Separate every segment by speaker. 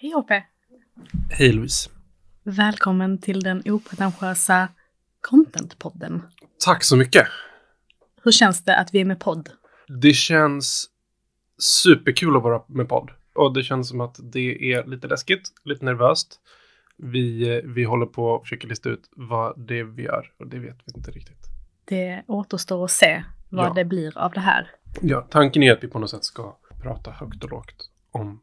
Speaker 1: Hej Hoppe!
Speaker 2: Hej Louise.
Speaker 1: Välkommen till den opretentiösa Contentpodden.
Speaker 2: Tack så mycket.
Speaker 1: Hur känns det att vi är med podd?
Speaker 2: Det känns superkul att vara med podd. Och det känns som att det är lite läskigt, lite nervöst. Vi, eh, vi håller på och försöker lista ut vad det är vi gör och det vet vi inte riktigt.
Speaker 1: Det återstår att se vad
Speaker 2: Ja.
Speaker 1: det blir av det här.
Speaker 2: Ja, tanken är att vi på något sätt ska prata högt och lågt om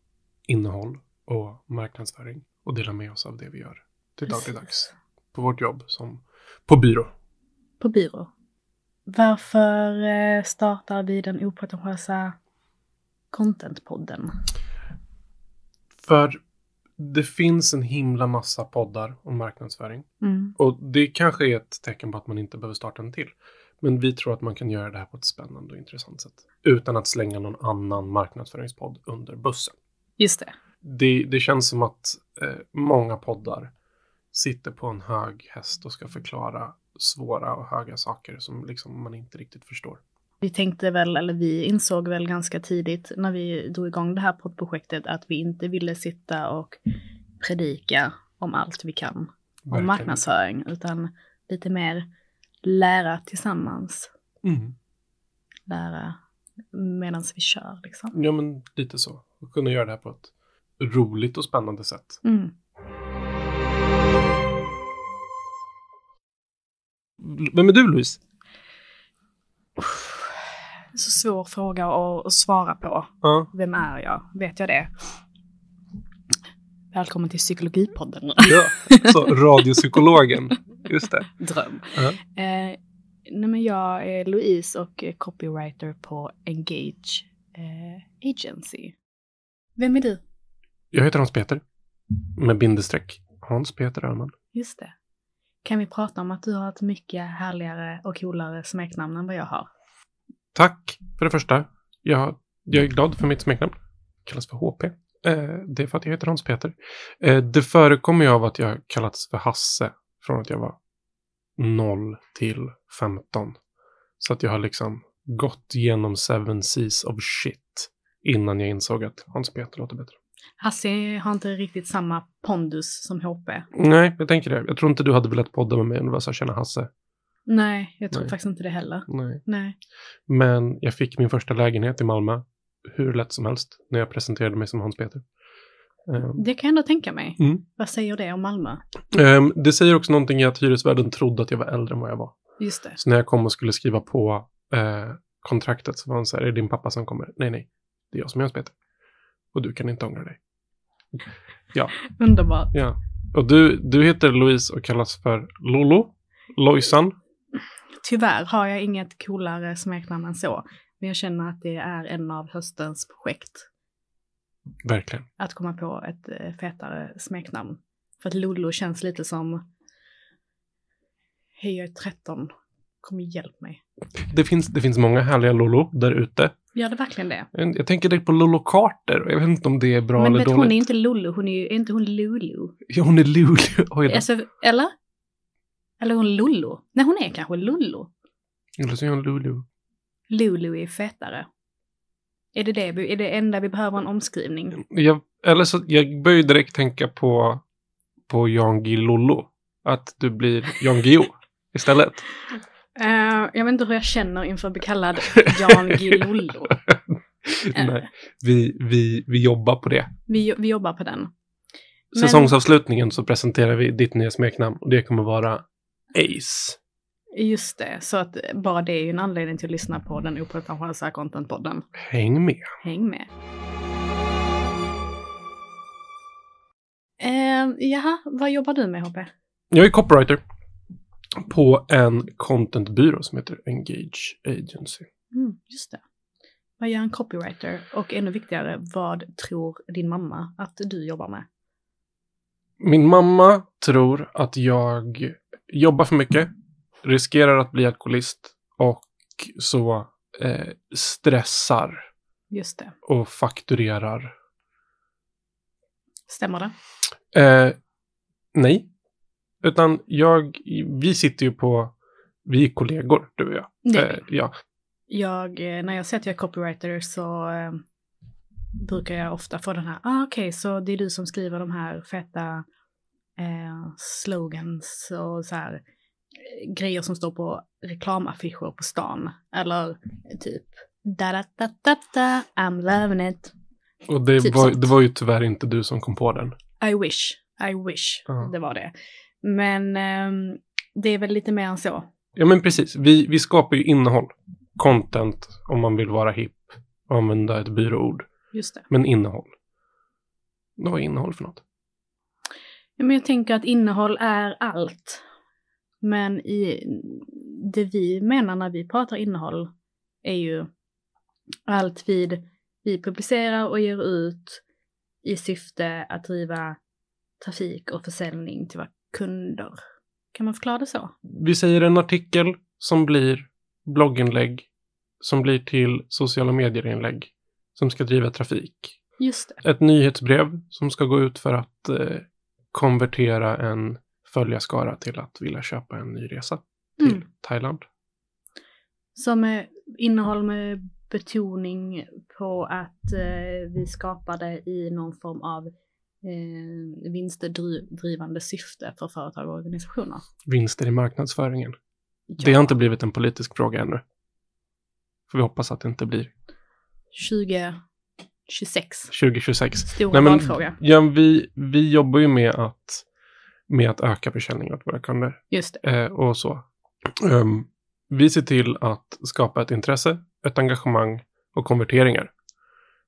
Speaker 2: innehåll och marknadsföring och dela med oss av det vi gör till dagligdags på vårt jobb som på byrå.
Speaker 1: På byrå. Varför eh, startar vi den opretentiösa Contentpodden?
Speaker 2: För det finns en himla massa poddar om marknadsföring.
Speaker 1: Mm.
Speaker 2: Och det kanske är ett tecken på att man inte behöver starta en till. Men vi tror att man kan göra det här på ett spännande och intressant sätt. Utan att slänga någon annan marknadsföringspodd under bussen.
Speaker 1: Just det.
Speaker 2: Det, det känns som att eh, många poddar sitter på en hög häst och ska förklara svåra och höga saker som liksom man inte riktigt förstår.
Speaker 1: Vi tänkte väl, eller vi insåg väl ganska tidigt när vi drog igång det här poddprojektet att vi inte ville sitta och predika om allt vi kan om
Speaker 2: Verkligen.
Speaker 1: marknadsföring, utan lite mer lära tillsammans.
Speaker 2: Mm.
Speaker 1: Lära medan vi kör liksom.
Speaker 2: Ja, men lite så. Och kunna göra det här på ett roligt och spännande sätt.
Speaker 1: Mm.
Speaker 2: Vem är du Louise?
Speaker 1: Så svår fråga att, att svara på.
Speaker 2: Ja,
Speaker 1: Vem är jag? Vet jag det? Välkommen till psykologipodden.
Speaker 2: ja. så radiopsykologen. Just det.
Speaker 1: Dröm.
Speaker 2: Ja.
Speaker 1: Eh, nej men jag är Louise och är copywriter på Engage eh, Agency. Vem är du?
Speaker 2: Jag heter Hans Peter. Med bindestreck. Hans Peter Öhman.
Speaker 1: Just det. Kan vi prata om att du har ett mycket härligare och coolare smeknamn än vad jag har?
Speaker 2: Tack för det första. Jag, jag är glad för mitt smeknamn. Kallas för HP. Eh, det är för att jag heter Hans Peter. Eh, det förekommer ju av att jag kallats för Hasse. Från att jag var 0 till 15. Så att jag har liksom gått igenom seven seas of shit. Innan jag insåg att Hans Peter låter bättre.
Speaker 1: Hasse har inte riktigt samma pondus som HP.
Speaker 2: Nej, jag tänker det. Jag tror inte du hade velat podda med mig om du var så här, tjena Hasse.
Speaker 1: Nej, jag tror
Speaker 2: Nej.
Speaker 1: faktiskt inte det heller.
Speaker 2: Nej.
Speaker 1: Nej.
Speaker 2: Men jag fick min första lägenhet i Malmö hur lätt som helst när jag presenterade mig som Hans-Peter. Ehm,
Speaker 1: Det kan jag ändå tänka mig.
Speaker 2: Mm.
Speaker 1: Vad säger det om Malmö?
Speaker 2: ehm, det säger också någonting i att hyresvärden trodde att jag var äldre än vad jag var.
Speaker 1: Just det.
Speaker 2: Så när jag kom och skulle skriva på eh, kontraktet så var han så här, är det din pappa som kommer? Nej, nej, det är jag som är Hans-Peter. Och du kan inte ångra dig.
Speaker 1: Underbart.
Speaker 2: Ja. Och du, du heter Louise och kallas för Lolo, Lojsan.
Speaker 1: Tyvärr har jag inget coolare smeknamn än så. Men jag känner att det är en av höstens projekt.
Speaker 2: Verkligen.
Speaker 1: Att komma på ett eh, fetare smeknamn. För att Lollo känns lite som... Hej, jag är 13. Kom och hjälp mig.
Speaker 2: Det finns, det finns många härliga Lolo där ute.
Speaker 1: Gör det verkligen det?
Speaker 2: Jag jag tänker direkt på Lolo Carter och jag vet inte om det är bra
Speaker 1: Men
Speaker 2: eller
Speaker 1: vet,
Speaker 2: dåligt.
Speaker 1: hon är ju inte Lollo, hon är ju är inte hon Lulu.
Speaker 2: Ja, hon är Luleå. Oj då.
Speaker 1: Alltså, eller? Eller är hon Lollo? Nej, hon är kanske Lollo.
Speaker 2: Eller så är hon Luleå.
Speaker 1: Lulu är fetare. Är det det, vi- är det enda vi behöver en omskrivning?
Speaker 2: Jag, eller så, jag börjar ju direkt tänka på, på Jan Guillou. Att du blir Jan Guillou istället.
Speaker 1: Eh, jag vet inte hur jag känner inför att bli kallad Jan Gilollo.
Speaker 2: Nej, vi, vi, vi jobbar på det.
Speaker 1: Vi, jo- vi jobbar på den. Men-
Speaker 2: Säsongsavslutningen så presenterar vi ditt nya smeknamn och det kommer vara Ace.
Speaker 1: Just det, så att bara det är ju en anledning till att lyssna på den opretentiösa contentpodden.
Speaker 2: Häng med.
Speaker 1: Häng med. Eh, jaha, vad jobbar du med Hoppe?
Speaker 2: Jag är copywriter på en contentbyrå som heter Engage Agency.
Speaker 1: Mm, just det. Vad gör en copywriter? Och ännu viktigare, vad tror din mamma att du jobbar med?
Speaker 2: Min mamma tror att jag jobbar för mycket, riskerar att bli alkoholist och så eh, stressar
Speaker 1: Just det.
Speaker 2: och fakturerar.
Speaker 1: Stämmer det?
Speaker 2: Eh, nej, utan jag, vi sitter ju på, vi är kollegor du och jag.
Speaker 1: Det är
Speaker 2: Eh, ja.
Speaker 1: Jag, eh, när jag säger att jag är copywriter så eh, brukar jag ofta få den här, ah, okej, så det är du som skriver de här feta eh, slogans och så här eh, grejer som står på reklamaffischer på stan. Eller typ, da da da da da, I'm loving it.
Speaker 2: Och det,
Speaker 1: Typ
Speaker 2: var,
Speaker 1: sånt.
Speaker 2: det var ju tyvärr inte du som kom på den.
Speaker 1: I wish, I wish,
Speaker 2: Ja.
Speaker 1: det var det. Men ehm, det är väl lite mer än så.
Speaker 2: Ja, men precis. Vi, vi skapar ju innehåll. Content, om man vill vara hipp och använda ett byråord.
Speaker 1: Just det.
Speaker 2: Men innehåll. Vad är innehåll för något?
Speaker 1: Ja, men jag tänker att innehåll är allt. Men i, det vi menar när vi pratar innehåll är ju allt vid, vi publicerar och ger ut i syfte att driva trafik och försäljning till våra kunder. Kan man förklara det så?
Speaker 2: Vi säger en artikel som blir blogginlägg, som blir till sociala medier-inlägg, som ska driva trafik.
Speaker 1: Just det.
Speaker 2: Ett nyhetsbrev som ska gå ut för att eh, konvertera en följarskara till att vilja köpa en ny resa till
Speaker 1: Mm.
Speaker 2: Thailand.
Speaker 1: Som är innehåll med betoning på att eh, vi skapade i någon form av eh, vinstdrivande syfte för företag och organisationer.
Speaker 2: Vinster i marknadsföringen.
Speaker 1: Ja.
Speaker 2: Det har inte blivit en politisk fråga ännu. Får vi hoppas att det inte blir
Speaker 1: 2026.
Speaker 2: 2026.
Speaker 1: Stor
Speaker 2: Nej, men-
Speaker 1: valfråga.
Speaker 2: Ja, vi, vi jobbar ju med att, med att öka försäljningen åt våra kunder
Speaker 1: Just det.
Speaker 2: eh, och så. Ehm, vi ser till att skapa ett intresse, ett engagemang och konverteringar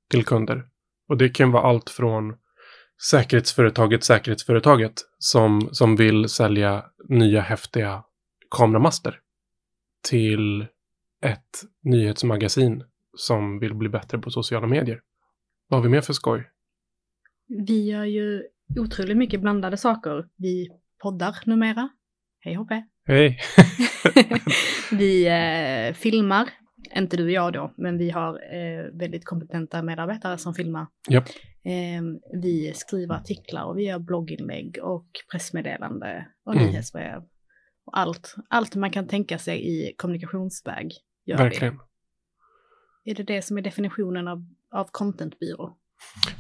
Speaker 2: till kunder. Och det kan vara allt från säkerhetsföretaget, säkerhetsföretaget som, som vill sälja nya häftiga kameramaster till ett nyhetsmagasin som vill bli bättre på sociala medier. Vad har vi mer för skoj?
Speaker 1: Vi gör ju otroligt mycket blandade saker. Vi poddar numera. Hej HP.
Speaker 2: Hej!
Speaker 1: vi eh, filmar. Inte du och jag då, men vi har eh, väldigt kompetenta medarbetare som filmar.
Speaker 2: Japp.
Speaker 1: Eh, vi skriver artiklar och vi gör blogginlägg och pressmeddelande och
Speaker 2: Mm.
Speaker 1: nyhetsbrev. Och allt, allt man kan tänka sig i kommunikationsväg gör vi.
Speaker 2: Verkligen.
Speaker 1: Är det det som är definitionen av, av contentbyrå?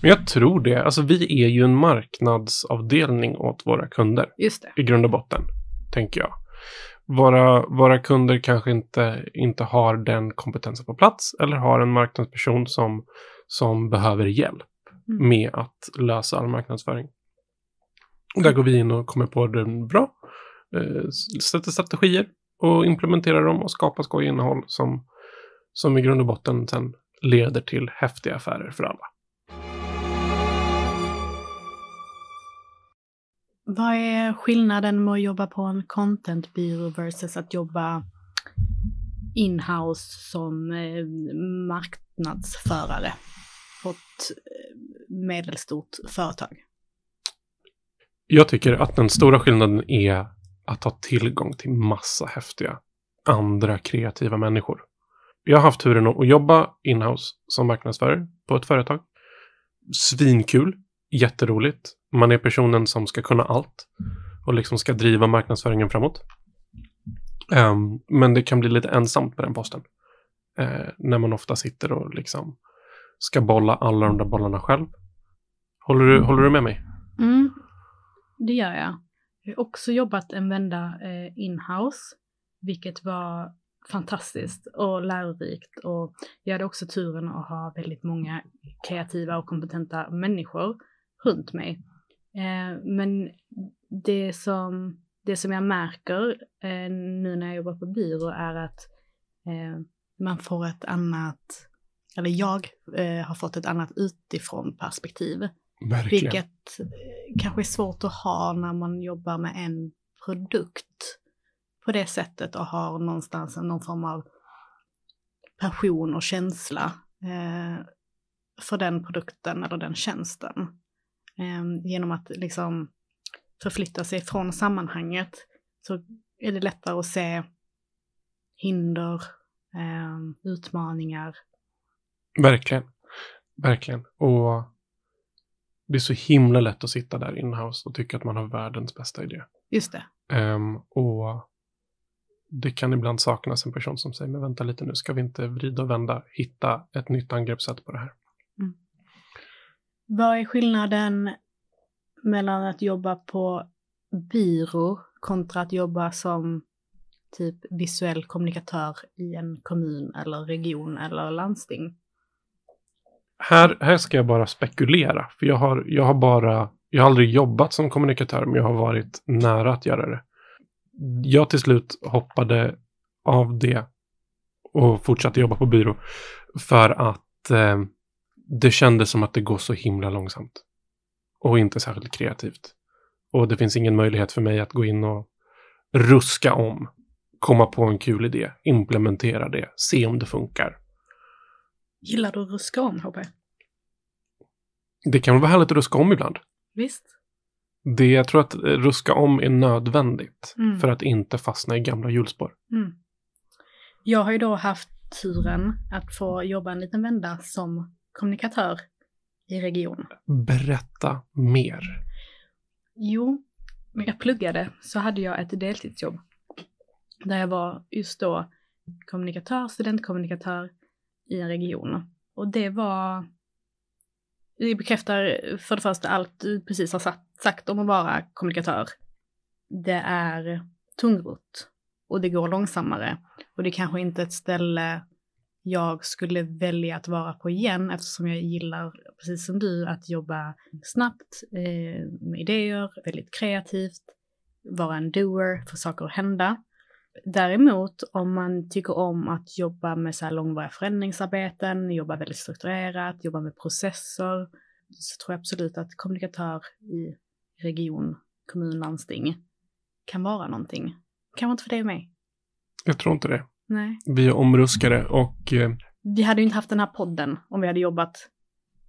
Speaker 2: Men jag tror det. Alltså vi är ju en marknadsavdelning åt våra kunder
Speaker 1: Just det.
Speaker 2: i grund och botten, tänker jag. Våra, våra kunder kanske inte, inte har den kompetensen på plats eller har en marknadsperson som, som behöver hjälp
Speaker 1: Mm.
Speaker 2: med att lösa all marknadsföring. Där går vi in och kommer på den bra, eh, sätter strategier och implementerar dem och skapar skoj innehåll som, som i grund och botten sen leder till häftiga affärer för alla.
Speaker 1: Vad är skillnaden med att jobba på en contentbyrå versus att jobba inhouse som eh, marknadsförare på ett eh, medelstort företag?
Speaker 2: Jag tycker att den stora skillnaden är att ha tillgång till massa häftiga andra kreativa människor. Jag har haft turen att jobba inhouse som marknadsförare på ett företag. Svinkul, jätteroligt. Man är personen som ska kunna allt och liksom ska driva marknadsföringen framåt. Ehm, men det kan bli lite ensamt på den posten. Eh, när man ofta sitter och liksom ska bolla alla de där bollarna själv. Håller du, håller du med mig?
Speaker 1: Mm, det gör jag. Jag har också jobbat en vända eh, inhouse, vilket var fantastiskt och lärorikt. Och jag hade också turen att ha väldigt många kreativa och kompetenta människor runt mig. Eh, men det som, det som jag märker eh, nu när jag jobbar på byrå är att eh, man får ett annat, eller jag eh, har fått ett annat utifrån perspektiv.
Speaker 2: Verkligen.
Speaker 1: Vilket eh, kanske är svårt att ha när man jobbar med en produkt på det sättet och har någonstans någon form av passion och känsla eh, för den produkten eller den tjänsten. Eh, genom att liksom förflytta sig från sammanhanget så är det lättare att se hinder, eh, utmaningar.
Speaker 2: Verkligen. Verkligen. Och det är så himla lätt att sitta där inhouse och tycka att man har världens bästa idé.
Speaker 1: Just det.
Speaker 2: Ehm, och det kan ibland saknas en person som säger, men vänta lite nu, ska vi inte vrida och vända, hitta ett nytt angreppssätt på det här?
Speaker 1: Mm. Vad är skillnaden mellan att jobba på byrå kontra att jobba som typ visuell kommunikatör i en kommun eller region eller landsting?
Speaker 2: Här, här ska jag bara spekulera, för jag har, jag har bara, jag har aldrig jobbat som kommunikatör, men jag har varit nära att göra det. Jag till slut hoppade av det och fortsatte jobba på byrå för att eh, det kändes som att det går så himla långsamt och inte särskilt kreativt. Och det finns ingen möjlighet för mig att gå in och ruska om, komma på en kul idé, implementera det, se om det funkar.
Speaker 1: Gillar du att ruska om, HB?
Speaker 2: Det kan vara härligt att ruska om ibland.
Speaker 1: Visst?
Speaker 2: Det, jag tror att eh, ruska om är nödvändigt
Speaker 1: Mm.
Speaker 2: för att inte fastna i gamla hjulspår.
Speaker 1: Mm. Jag har ju då haft turen att få jobba en liten vända som kommunikatör i region.
Speaker 2: Berätta mer.
Speaker 1: Jo, när jag pluggade så hade jag ett deltidsjobb där jag var just då kommunikatör, studentkommunikatör i en region. Och det var, det bekräftar för det första allt du precis har sagt, sagt om att vara kommunikatör. Det är tungrot och det går långsammare och det är kanske inte ett ställe jag skulle välja att vara på igen eftersom jag gillar, precis som du, att jobba snabbt eh, med idéer, väldigt kreativt, vara en doer, få saker att hända. Däremot om man tycker om att jobba med så här långvariga förändringsarbeten, jobba väldigt strukturerat, jobba med processer, så tror jag absolut att kommunikatör i region, kommun, landsting kan vara någonting. Kan vara inte för dig och mig.
Speaker 2: Jag tror inte det.
Speaker 1: Nej.
Speaker 2: Vi är omruskare och eh,
Speaker 1: Vi hade ju inte haft den här podden om vi hade jobbat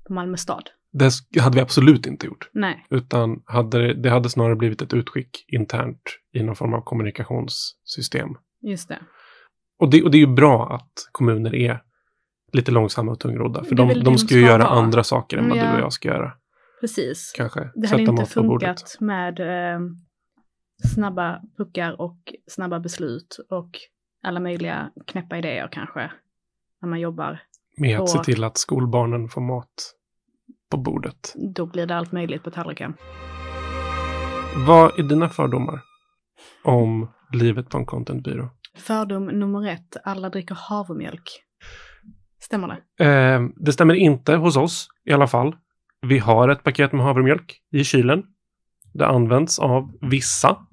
Speaker 1: på Malmö stad.
Speaker 2: det sk- hade vi absolut inte gjort.
Speaker 1: Nej.
Speaker 2: Utan hade det, det hade snarare blivit ett utskick internt i någon form av kommunikationssystem.
Speaker 1: Just det.
Speaker 2: Och det, och det är ju bra att kommuner är lite långsamma och tungrodda. För
Speaker 1: Det är
Speaker 2: de,
Speaker 1: väl det
Speaker 2: de
Speaker 1: de
Speaker 2: ska ju
Speaker 1: ska
Speaker 2: göra
Speaker 1: vara.
Speaker 2: andra saker än vad
Speaker 1: Ja.
Speaker 2: du och jag ska göra.
Speaker 1: Precis.
Speaker 2: Kanske
Speaker 1: Det hade inte
Speaker 2: mat på bordet.
Speaker 1: funkat med eh, snabba puckar och snabba beslut och alla möjliga knäppa idéer kanske. När man jobbar,
Speaker 2: Med att se
Speaker 1: på-
Speaker 2: till att skolbarnen får mat på bordet.
Speaker 1: då blir det allt möjligt på tallriken.
Speaker 2: Vad är dina fördomar om livet på en contentbyrå?
Speaker 1: Fördom nummer ett, alla dricker havremjölk. Stämmer det?
Speaker 2: Eh, det stämmer inte hos oss i alla fall. Vi har ett paket med havremjölk i kylen. Det används av vissa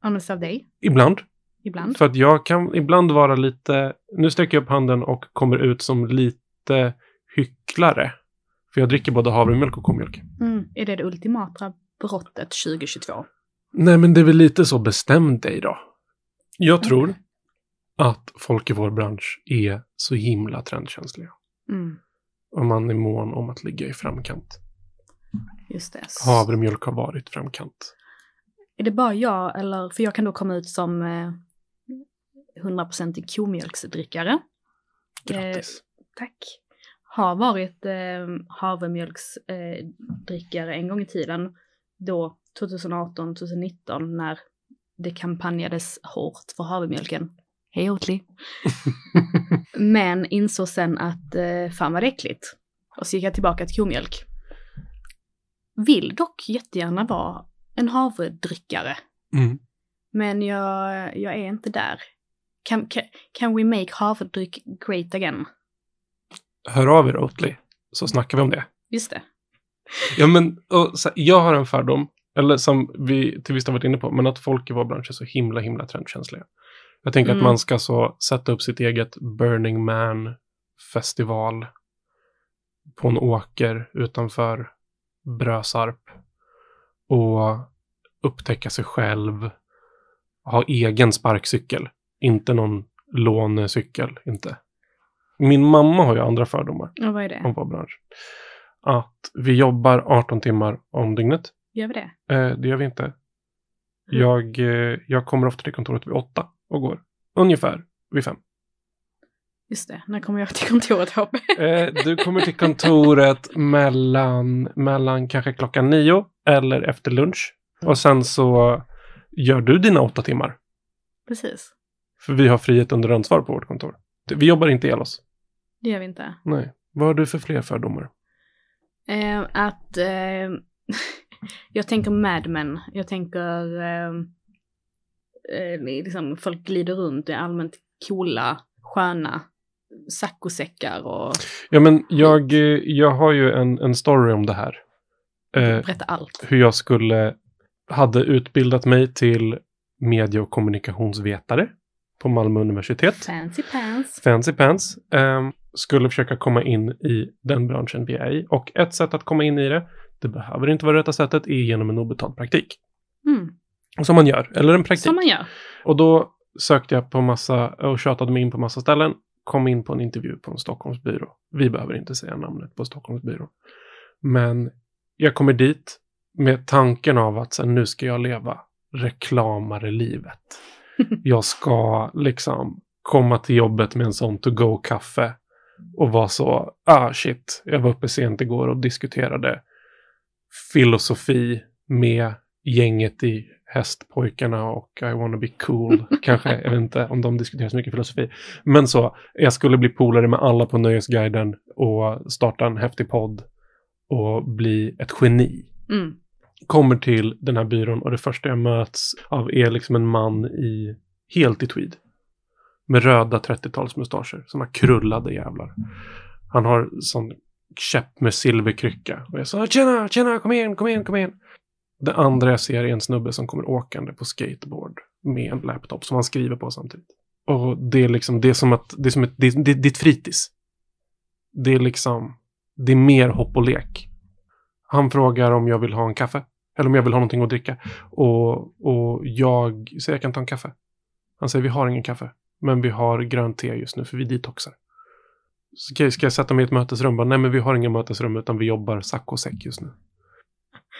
Speaker 1: Används av dig
Speaker 2: ibland.
Speaker 1: ibland?
Speaker 2: För att jag kan ibland vara lite, nu sträcker jag upp handen och kommer ut som lite hycklare. För jag dricker både havremjölk och komjölk.
Speaker 1: Mm. Är det det ultimata brottet 2022?
Speaker 2: Nej men det är väl lite så bestäm dig då. Jag tror att folk i vår bransch är så himla trendkänsliga.
Speaker 1: Mm.
Speaker 2: Och man är mån om att ligga i framkant.
Speaker 1: Just det. S-
Speaker 2: Havremjölk har varit framkant.
Speaker 1: Är det bara jag eller, för jag kan då komma ut som eh, 100% komjölksdrickare.
Speaker 2: Grattis.
Speaker 1: Tack. Har varit eh, havremjölksdrickare eh, drickare en gång i tiden. Då 2018, 2019 när det kampanjades hårt för havremjölken. Hej Oatly! Men insåg sen att eh, fan vad det är äckligt. Och så gick jag tillbaka till komjölk. Vill dock jättegärna vara en havredryckare.
Speaker 2: Mm.
Speaker 1: Men jag, jag är inte där. Can, can, can we make havredryck great again?
Speaker 2: Hör av er Oatly, så snackar vi om det.
Speaker 1: Just det.
Speaker 2: Ja, men och, så, här, jag har en fördom, eller som vi till viss del har varit inne på, men att folk i vår bransch är så himla, himla trendkänsliga. Jag tänker att
Speaker 1: Mm.
Speaker 2: man ska så sätta upp sitt eget Burning Man-festival på en åker utanför Brösarp och upptäcka sig själv, ha egen sparkcykel, inte någon lånecykel, inte. Min mamma har ju andra fördomar
Speaker 1: Och vad är det?
Speaker 2: om vår bransch. Att vi jobbar 18 timmar om dygnet.
Speaker 1: Gör vi det?
Speaker 2: Eh, det gör vi inte. Jag, eh, jag kommer ofta till kontoret vid åtta och går ungefär vid fem.
Speaker 1: Just det. När kommer jag till kontoret HP?
Speaker 2: Eh, du kommer till kontoret mellan, mellan kanske klockan nio eller efter lunch. Och sen så gör du dina åtta timmar.
Speaker 1: Precis.
Speaker 2: För vi har frihet under ansvar på vårt kontor. Vi jobbar inte ihjäl oss.
Speaker 1: Det gör vi inte.
Speaker 2: Nej. Vad har du för fler fördomar?
Speaker 1: Eh, att eh, jag tänker Mad Men. Jag tänker eh, eh, liksom folk glider runt i allmänt coola, sköna saccosäckar och
Speaker 2: Ja, men jag, eh, jag har ju en, en story om det här. Eh,
Speaker 1: berättar allt.
Speaker 2: hur jag skulle, hade utbildat mig till medie och kommunikationsvetare på Malmö universitet.
Speaker 1: Fancy pants.
Speaker 2: Fancy pants. ehm, skulle försöka komma in i den branschen vi är i. Och ett sätt att komma in i det, det behöver inte vara rätta sättet, är genom en obetald praktik.
Speaker 1: Mm.
Speaker 2: Som man gör, eller en praktik.
Speaker 1: Som man gör.
Speaker 2: Och då sökte jag på massa och tjatade mig in på massa ställen. Kom in på en intervju på en Stockholmsbyrå. Vi behöver inte säga namnet på Stockholmsbyrå. Men jag kommer dit med tanken av att sen, nu ska jag leva reklamare-livet. Jag ska liksom komma till jobbet med en sån to-go-kaffe och vara så, ah shit, jag var uppe sent igår och diskuterade filosofi med gänget i Hästpojkarna och I wanna be cool. Kanske, jag vet inte om de diskuterar så mycket filosofi. Men så, jag skulle bli polare med alla på Nöjesguiden och starta en häftig podd och bli ett geni
Speaker 1: Mm.
Speaker 2: kommer till den här byrån och det första jag möts av är liksom en man i helt i tweed. Med röda 30-talsmustascher, såna krullade jävlar. Han har sån käpp med silverkrycka. Och jag sa tjena, tjena, kom igen, kom igen, kom igen. Det andra jag ser är en snubbe som kommer åkande på skateboard med en laptop som han skriver på samtidigt. Och det är liksom, det är som att, det är som ett, det, det, det är ett fritids. Det är liksom, det är mer hopp och lek. Han frågar om jag vill ha en kaffe. Eller om jag vill ha någonting att dricka. Och, och jag säger jag kan ta en kaffe. Han säger vi har ingen kaffe. Men vi har grönt te just nu för vi detoxar. Så ska, jag- ska jag sätta mig i ett mötesrum? Bara, Nej men vi har inga mötesrum utan vi jobbar sack och säck just nu.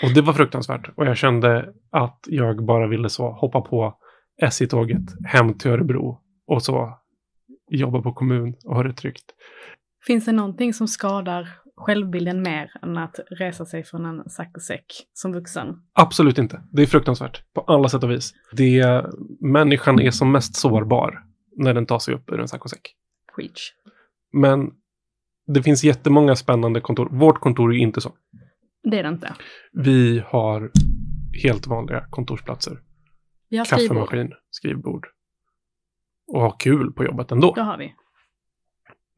Speaker 2: Och det var fruktansvärt. Och jag kände att jag bara ville så hoppa på SJ-tåget hem till Örebro. Och så jobba på kommun och ha det tryggt.
Speaker 1: Finns det någonting som skadar självbilden mer än att resa sig från en saccosäck som vuxen?
Speaker 2: Absolut inte. Det är fruktansvärt på alla sätt och vis. Det, människan är som mest sårbar när den tar sig upp ur en saccosäck.
Speaker 1: Preach.
Speaker 2: Men det finns jättemånga spännande kontor. Vårt kontor är ju inte så.
Speaker 1: Det är det inte.
Speaker 2: Vi har helt vanliga kontorsplatser.
Speaker 1: Vi har skrivbord.
Speaker 2: Kaffemaskin, skrivbord. Och ha kul på jobbet ändå.
Speaker 1: Det har vi.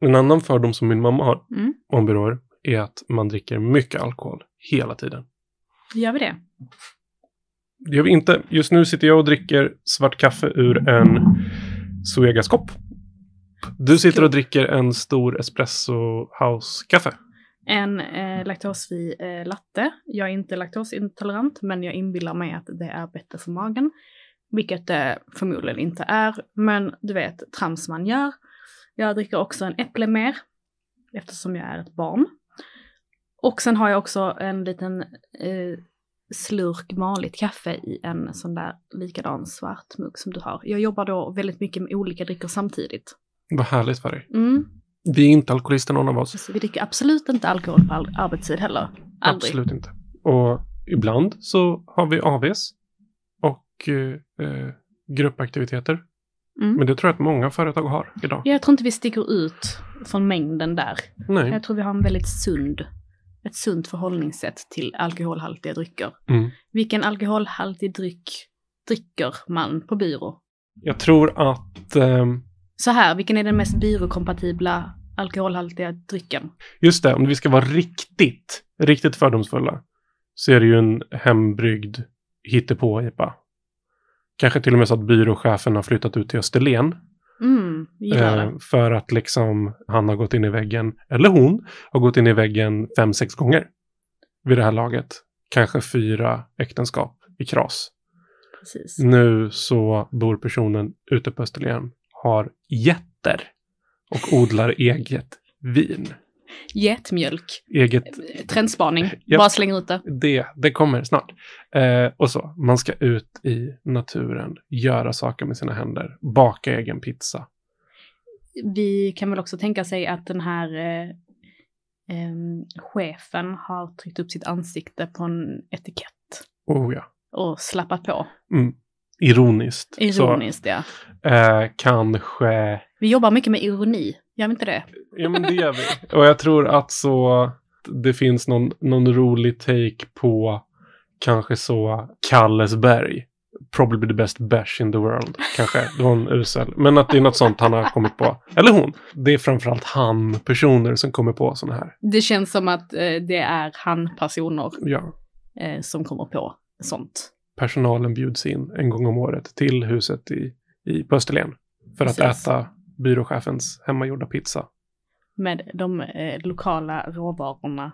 Speaker 2: En annan fördom som min mamma har
Speaker 1: Mm.
Speaker 2: om byråer är att man dricker mycket alkohol hela tiden.
Speaker 1: Gör vi det?
Speaker 2: Det gör vi inte. Just nu sitter jag och dricker svart kaffe ur en Zoegas-kopp. Du sitter och dricker en stor espresso house-kaffe.
Speaker 1: En eh, laktosfri eh, latte. Jag är inte laktosintolerant, men jag inbillar mig att det är bättre för magen. Vilket det förmodligen inte är, men du vet, trams man gör. Jag dricker också en äpple mer, eftersom jag är ett barn. Och sen har jag också en liten eh, slurk maligt kaffe i en sån där likadan svart mugg som du har. Jag jobbar då väldigt mycket med olika drycker samtidigt.
Speaker 2: Vad härligt för dig.
Speaker 1: Mm.
Speaker 2: Vi är inte alkoholister någon av oss.
Speaker 1: Så vi dricker absolut inte alkohol på all- arbetstid heller. Aldrig.
Speaker 2: Absolut inte. Och ibland så har vi AVs och eh, eh, gruppaktiviteter.
Speaker 1: Mm.
Speaker 2: Men det tror jag att många företag har idag.
Speaker 1: Jag tror inte vi sticker ut från mängden där.
Speaker 2: Nej.
Speaker 1: Jag tror vi har en väldigt sund, ett sunt förhållningssätt till alkoholhaltiga drycker.
Speaker 2: Mm.
Speaker 1: Vilken alkoholhaltig dryck dricker man på byrå?
Speaker 2: Jag tror att ehm,
Speaker 1: Så här, vilken är den mest byråkompatibla alkoholhaltiga drycken?
Speaker 2: Just det, om vi ska vara riktigt, riktigt fördomsfulla så är det ju en hembryggd hittepå-IPA. Kanske till och med så att byråchefen har flyttat ut till Österlen
Speaker 1: Mm, gillar
Speaker 2: eh,
Speaker 1: det.
Speaker 2: för att liksom han har gått in i väggen, eller hon har gått in i väggen fem, sex gånger vid det här laget. Kanske fyra äktenskap i kras.
Speaker 1: Precis.
Speaker 2: Nu så bor personen ute på Österlen, har getter och odlar eget vin.
Speaker 1: Getmjölk.
Speaker 2: Eget
Speaker 1: Trendspaning.
Speaker 2: Japp.
Speaker 1: Bara slänger ut det.
Speaker 2: det, det kommer snart. Eh, och så, man ska ut i naturen, göra saker med sina händer, baka egen pizza.
Speaker 1: Vi kan väl också tänka sig att den här eh, em, chefen har tryckt upp sitt ansikte på en etikett
Speaker 2: Oh ja.
Speaker 1: och slappat på.
Speaker 2: Mm. Ironiskt.
Speaker 1: Ironiskt, ja.
Speaker 2: Så, eh, kanske...
Speaker 1: Vi jobbar mycket med ironi, gör vi inte det?
Speaker 2: Ja, men det gör vi. Och jag tror att så... det finns någon, någon rolig take på kanske så Kallesberg. Probably the best bash in the world, kanske. Det var en usel. Men att det är något sånt han har kommit på. Eller hon. Det är framförallt han-personer som kommer på sådana här.
Speaker 1: Det känns som att eh, det är han-personer
Speaker 2: Ja.
Speaker 1: eh, som kommer på sånt.
Speaker 2: Personalen bjuds in en gång om året till huset i, i på Österlen. För att
Speaker 1: Precis.
Speaker 2: äta byråchefens hemmagjorda pizza.
Speaker 1: Med de eh, lokala råvarorna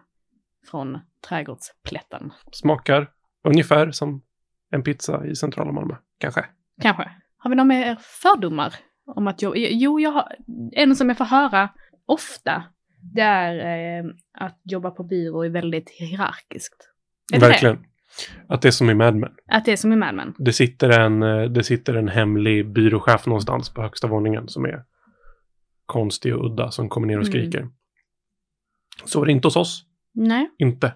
Speaker 1: från trädgårdsplätten.
Speaker 2: Smakar ungefär som en pizza i centrala Malmö. Kanske.
Speaker 1: Kanske. Har vi några mer fördomar? Om att jag, jo, jag har, en som jag får höra ofta, det är eh, att jobba på byrå är väldigt hierarkiskt. Är det
Speaker 2: Verkligen. Att det är som i Mad Men.
Speaker 1: Det? Att det är som i Mad Men.
Speaker 2: Det sitter, en, eh, det sitter en hemlig byråchef någonstans på högsta våningen som är konstig och udda som kommer ner och
Speaker 1: Mm.
Speaker 2: skriker. Så är det inte hos oss.
Speaker 1: Nej.
Speaker 2: Inte.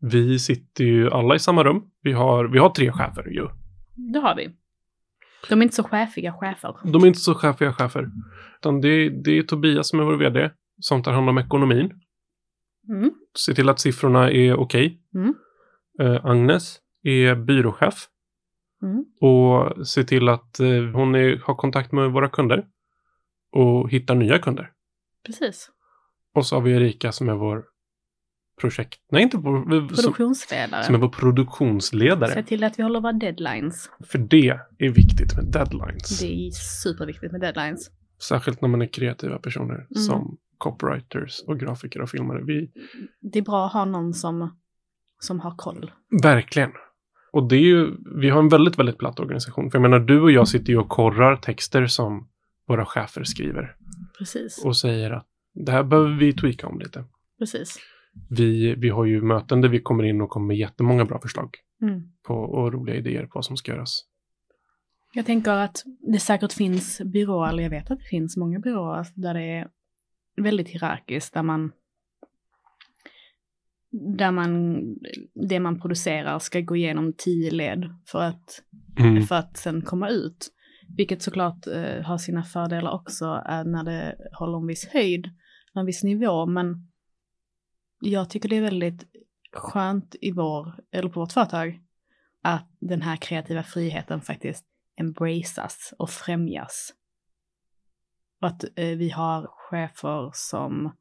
Speaker 2: Vi sitter ju alla i samma rum. Vi har, vi har tre chefer ju.
Speaker 1: Det har vi. De är inte så chefiga chefer.
Speaker 2: De är inte så chefiga chefer. Utan det, är- det är Tobias som är vår vd som tar hand om ekonomin.
Speaker 1: Mm.
Speaker 2: Se till att siffrorna är okej.
Speaker 1: Mm.
Speaker 2: Eh, Agnes är byråchef.
Speaker 1: Mm.
Speaker 2: Och se till att eh, hon är, har kontakt med våra kunder. Och hittar nya kunder.
Speaker 1: Precis.
Speaker 2: Och så har vi Erika som är vår projekt... Nej, inte vår... eh, Som,
Speaker 1: Produktionsledare.
Speaker 2: som är vår produktionsledare.
Speaker 1: Se till att vi håller våra deadlines.
Speaker 2: För det är viktigt med deadlines.
Speaker 1: Det är superviktigt med deadlines.
Speaker 2: Särskilt när man är kreativa personer som copywriters och grafiker och filmare. Vi,
Speaker 1: Det är bra att ha någon som, som har koll.
Speaker 2: verkligen. Och det är ju, vi har en väldigt, väldigt platt organisation. För jag menar, du och jag sitter ju och korrar texter som våra chefer skriver.
Speaker 1: Precis.
Speaker 2: Och säger att det här behöver vi tweaka om lite.
Speaker 1: Precis.
Speaker 2: Vi, vi har ju möten där vi kommer in och kommer med jättemånga bra förslag.
Speaker 1: Mm.
Speaker 2: På, och roliga idéer på vad som ska göras.
Speaker 1: Jag tänker att det säkert finns byråer, eller jag vet att det finns många byråer där det är väldigt hierarkiskt, där man där man, det man producerar ska gå igenom tio led för att
Speaker 2: Mm.
Speaker 1: för att sen komma ut. Vilket såklart eh, har sina fördelar också eh, när det håller en viss höjd, en viss nivå. Men jag tycker det är väldigt skönt i vår, eller på vårt företag att den här kreativa friheten faktiskt embraceas och främjas. Och att eh, vi har chefer som,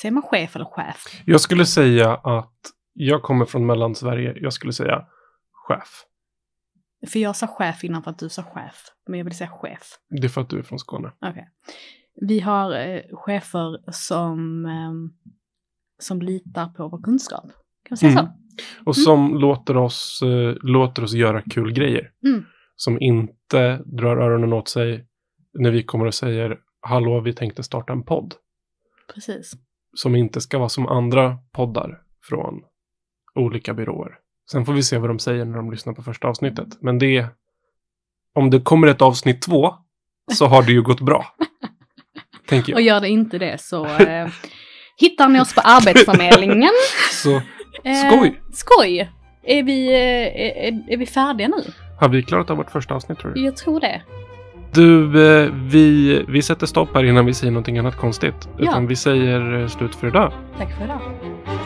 Speaker 1: säger man chef eller chef?
Speaker 2: Jag skulle säga att jag kommer från Mellansverige. Jag skulle säga chef.
Speaker 1: För jag sa chef innan för att du sa chef, men jag vill säga chef.
Speaker 2: Det är för att du är från Skåne.
Speaker 1: Okej. Vi har eh, chefer som, ehm, som litar på vår kunskap. Kan man säga
Speaker 2: Mm.
Speaker 1: så?
Speaker 2: Och som låter, oss, eh, låter oss göra kul grejer.
Speaker 1: Mm.
Speaker 2: Som inte drar öronen åt sig när vi kommer och säger hallå, vi tänkte starta en podd.
Speaker 1: Precis.
Speaker 2: Som inte ska vara som andra poddar från olika byråer. Sen får vi se vad de säger när de lyssnar på första avsnittet. Men det är, om det kommer ett avsnitt två så har det ju gått bra. tänker
Speaker 1: Och
Speaker 2: jag.
Speaker 1: gör det inte det så eh, hittar ni oss på Arbetsförmedlingen. Eh,
Speaker 2: Så Skoj.
Speaker 1: Skoj! Är vi, eh, är, är vi färdiga nu?
Speaker 2: har vi klarat av vårt första avsnitt tror du?
Speaker 1: Jag tror det.
Speaker 2: Du, eh, vi, vi sätter stopp här innan vi säger någonting annat konstigt.
Speaker 1: Ja.
Speaker 2: Utan vi säger eh, slut för idag.
Speaker 1: Tack för idag.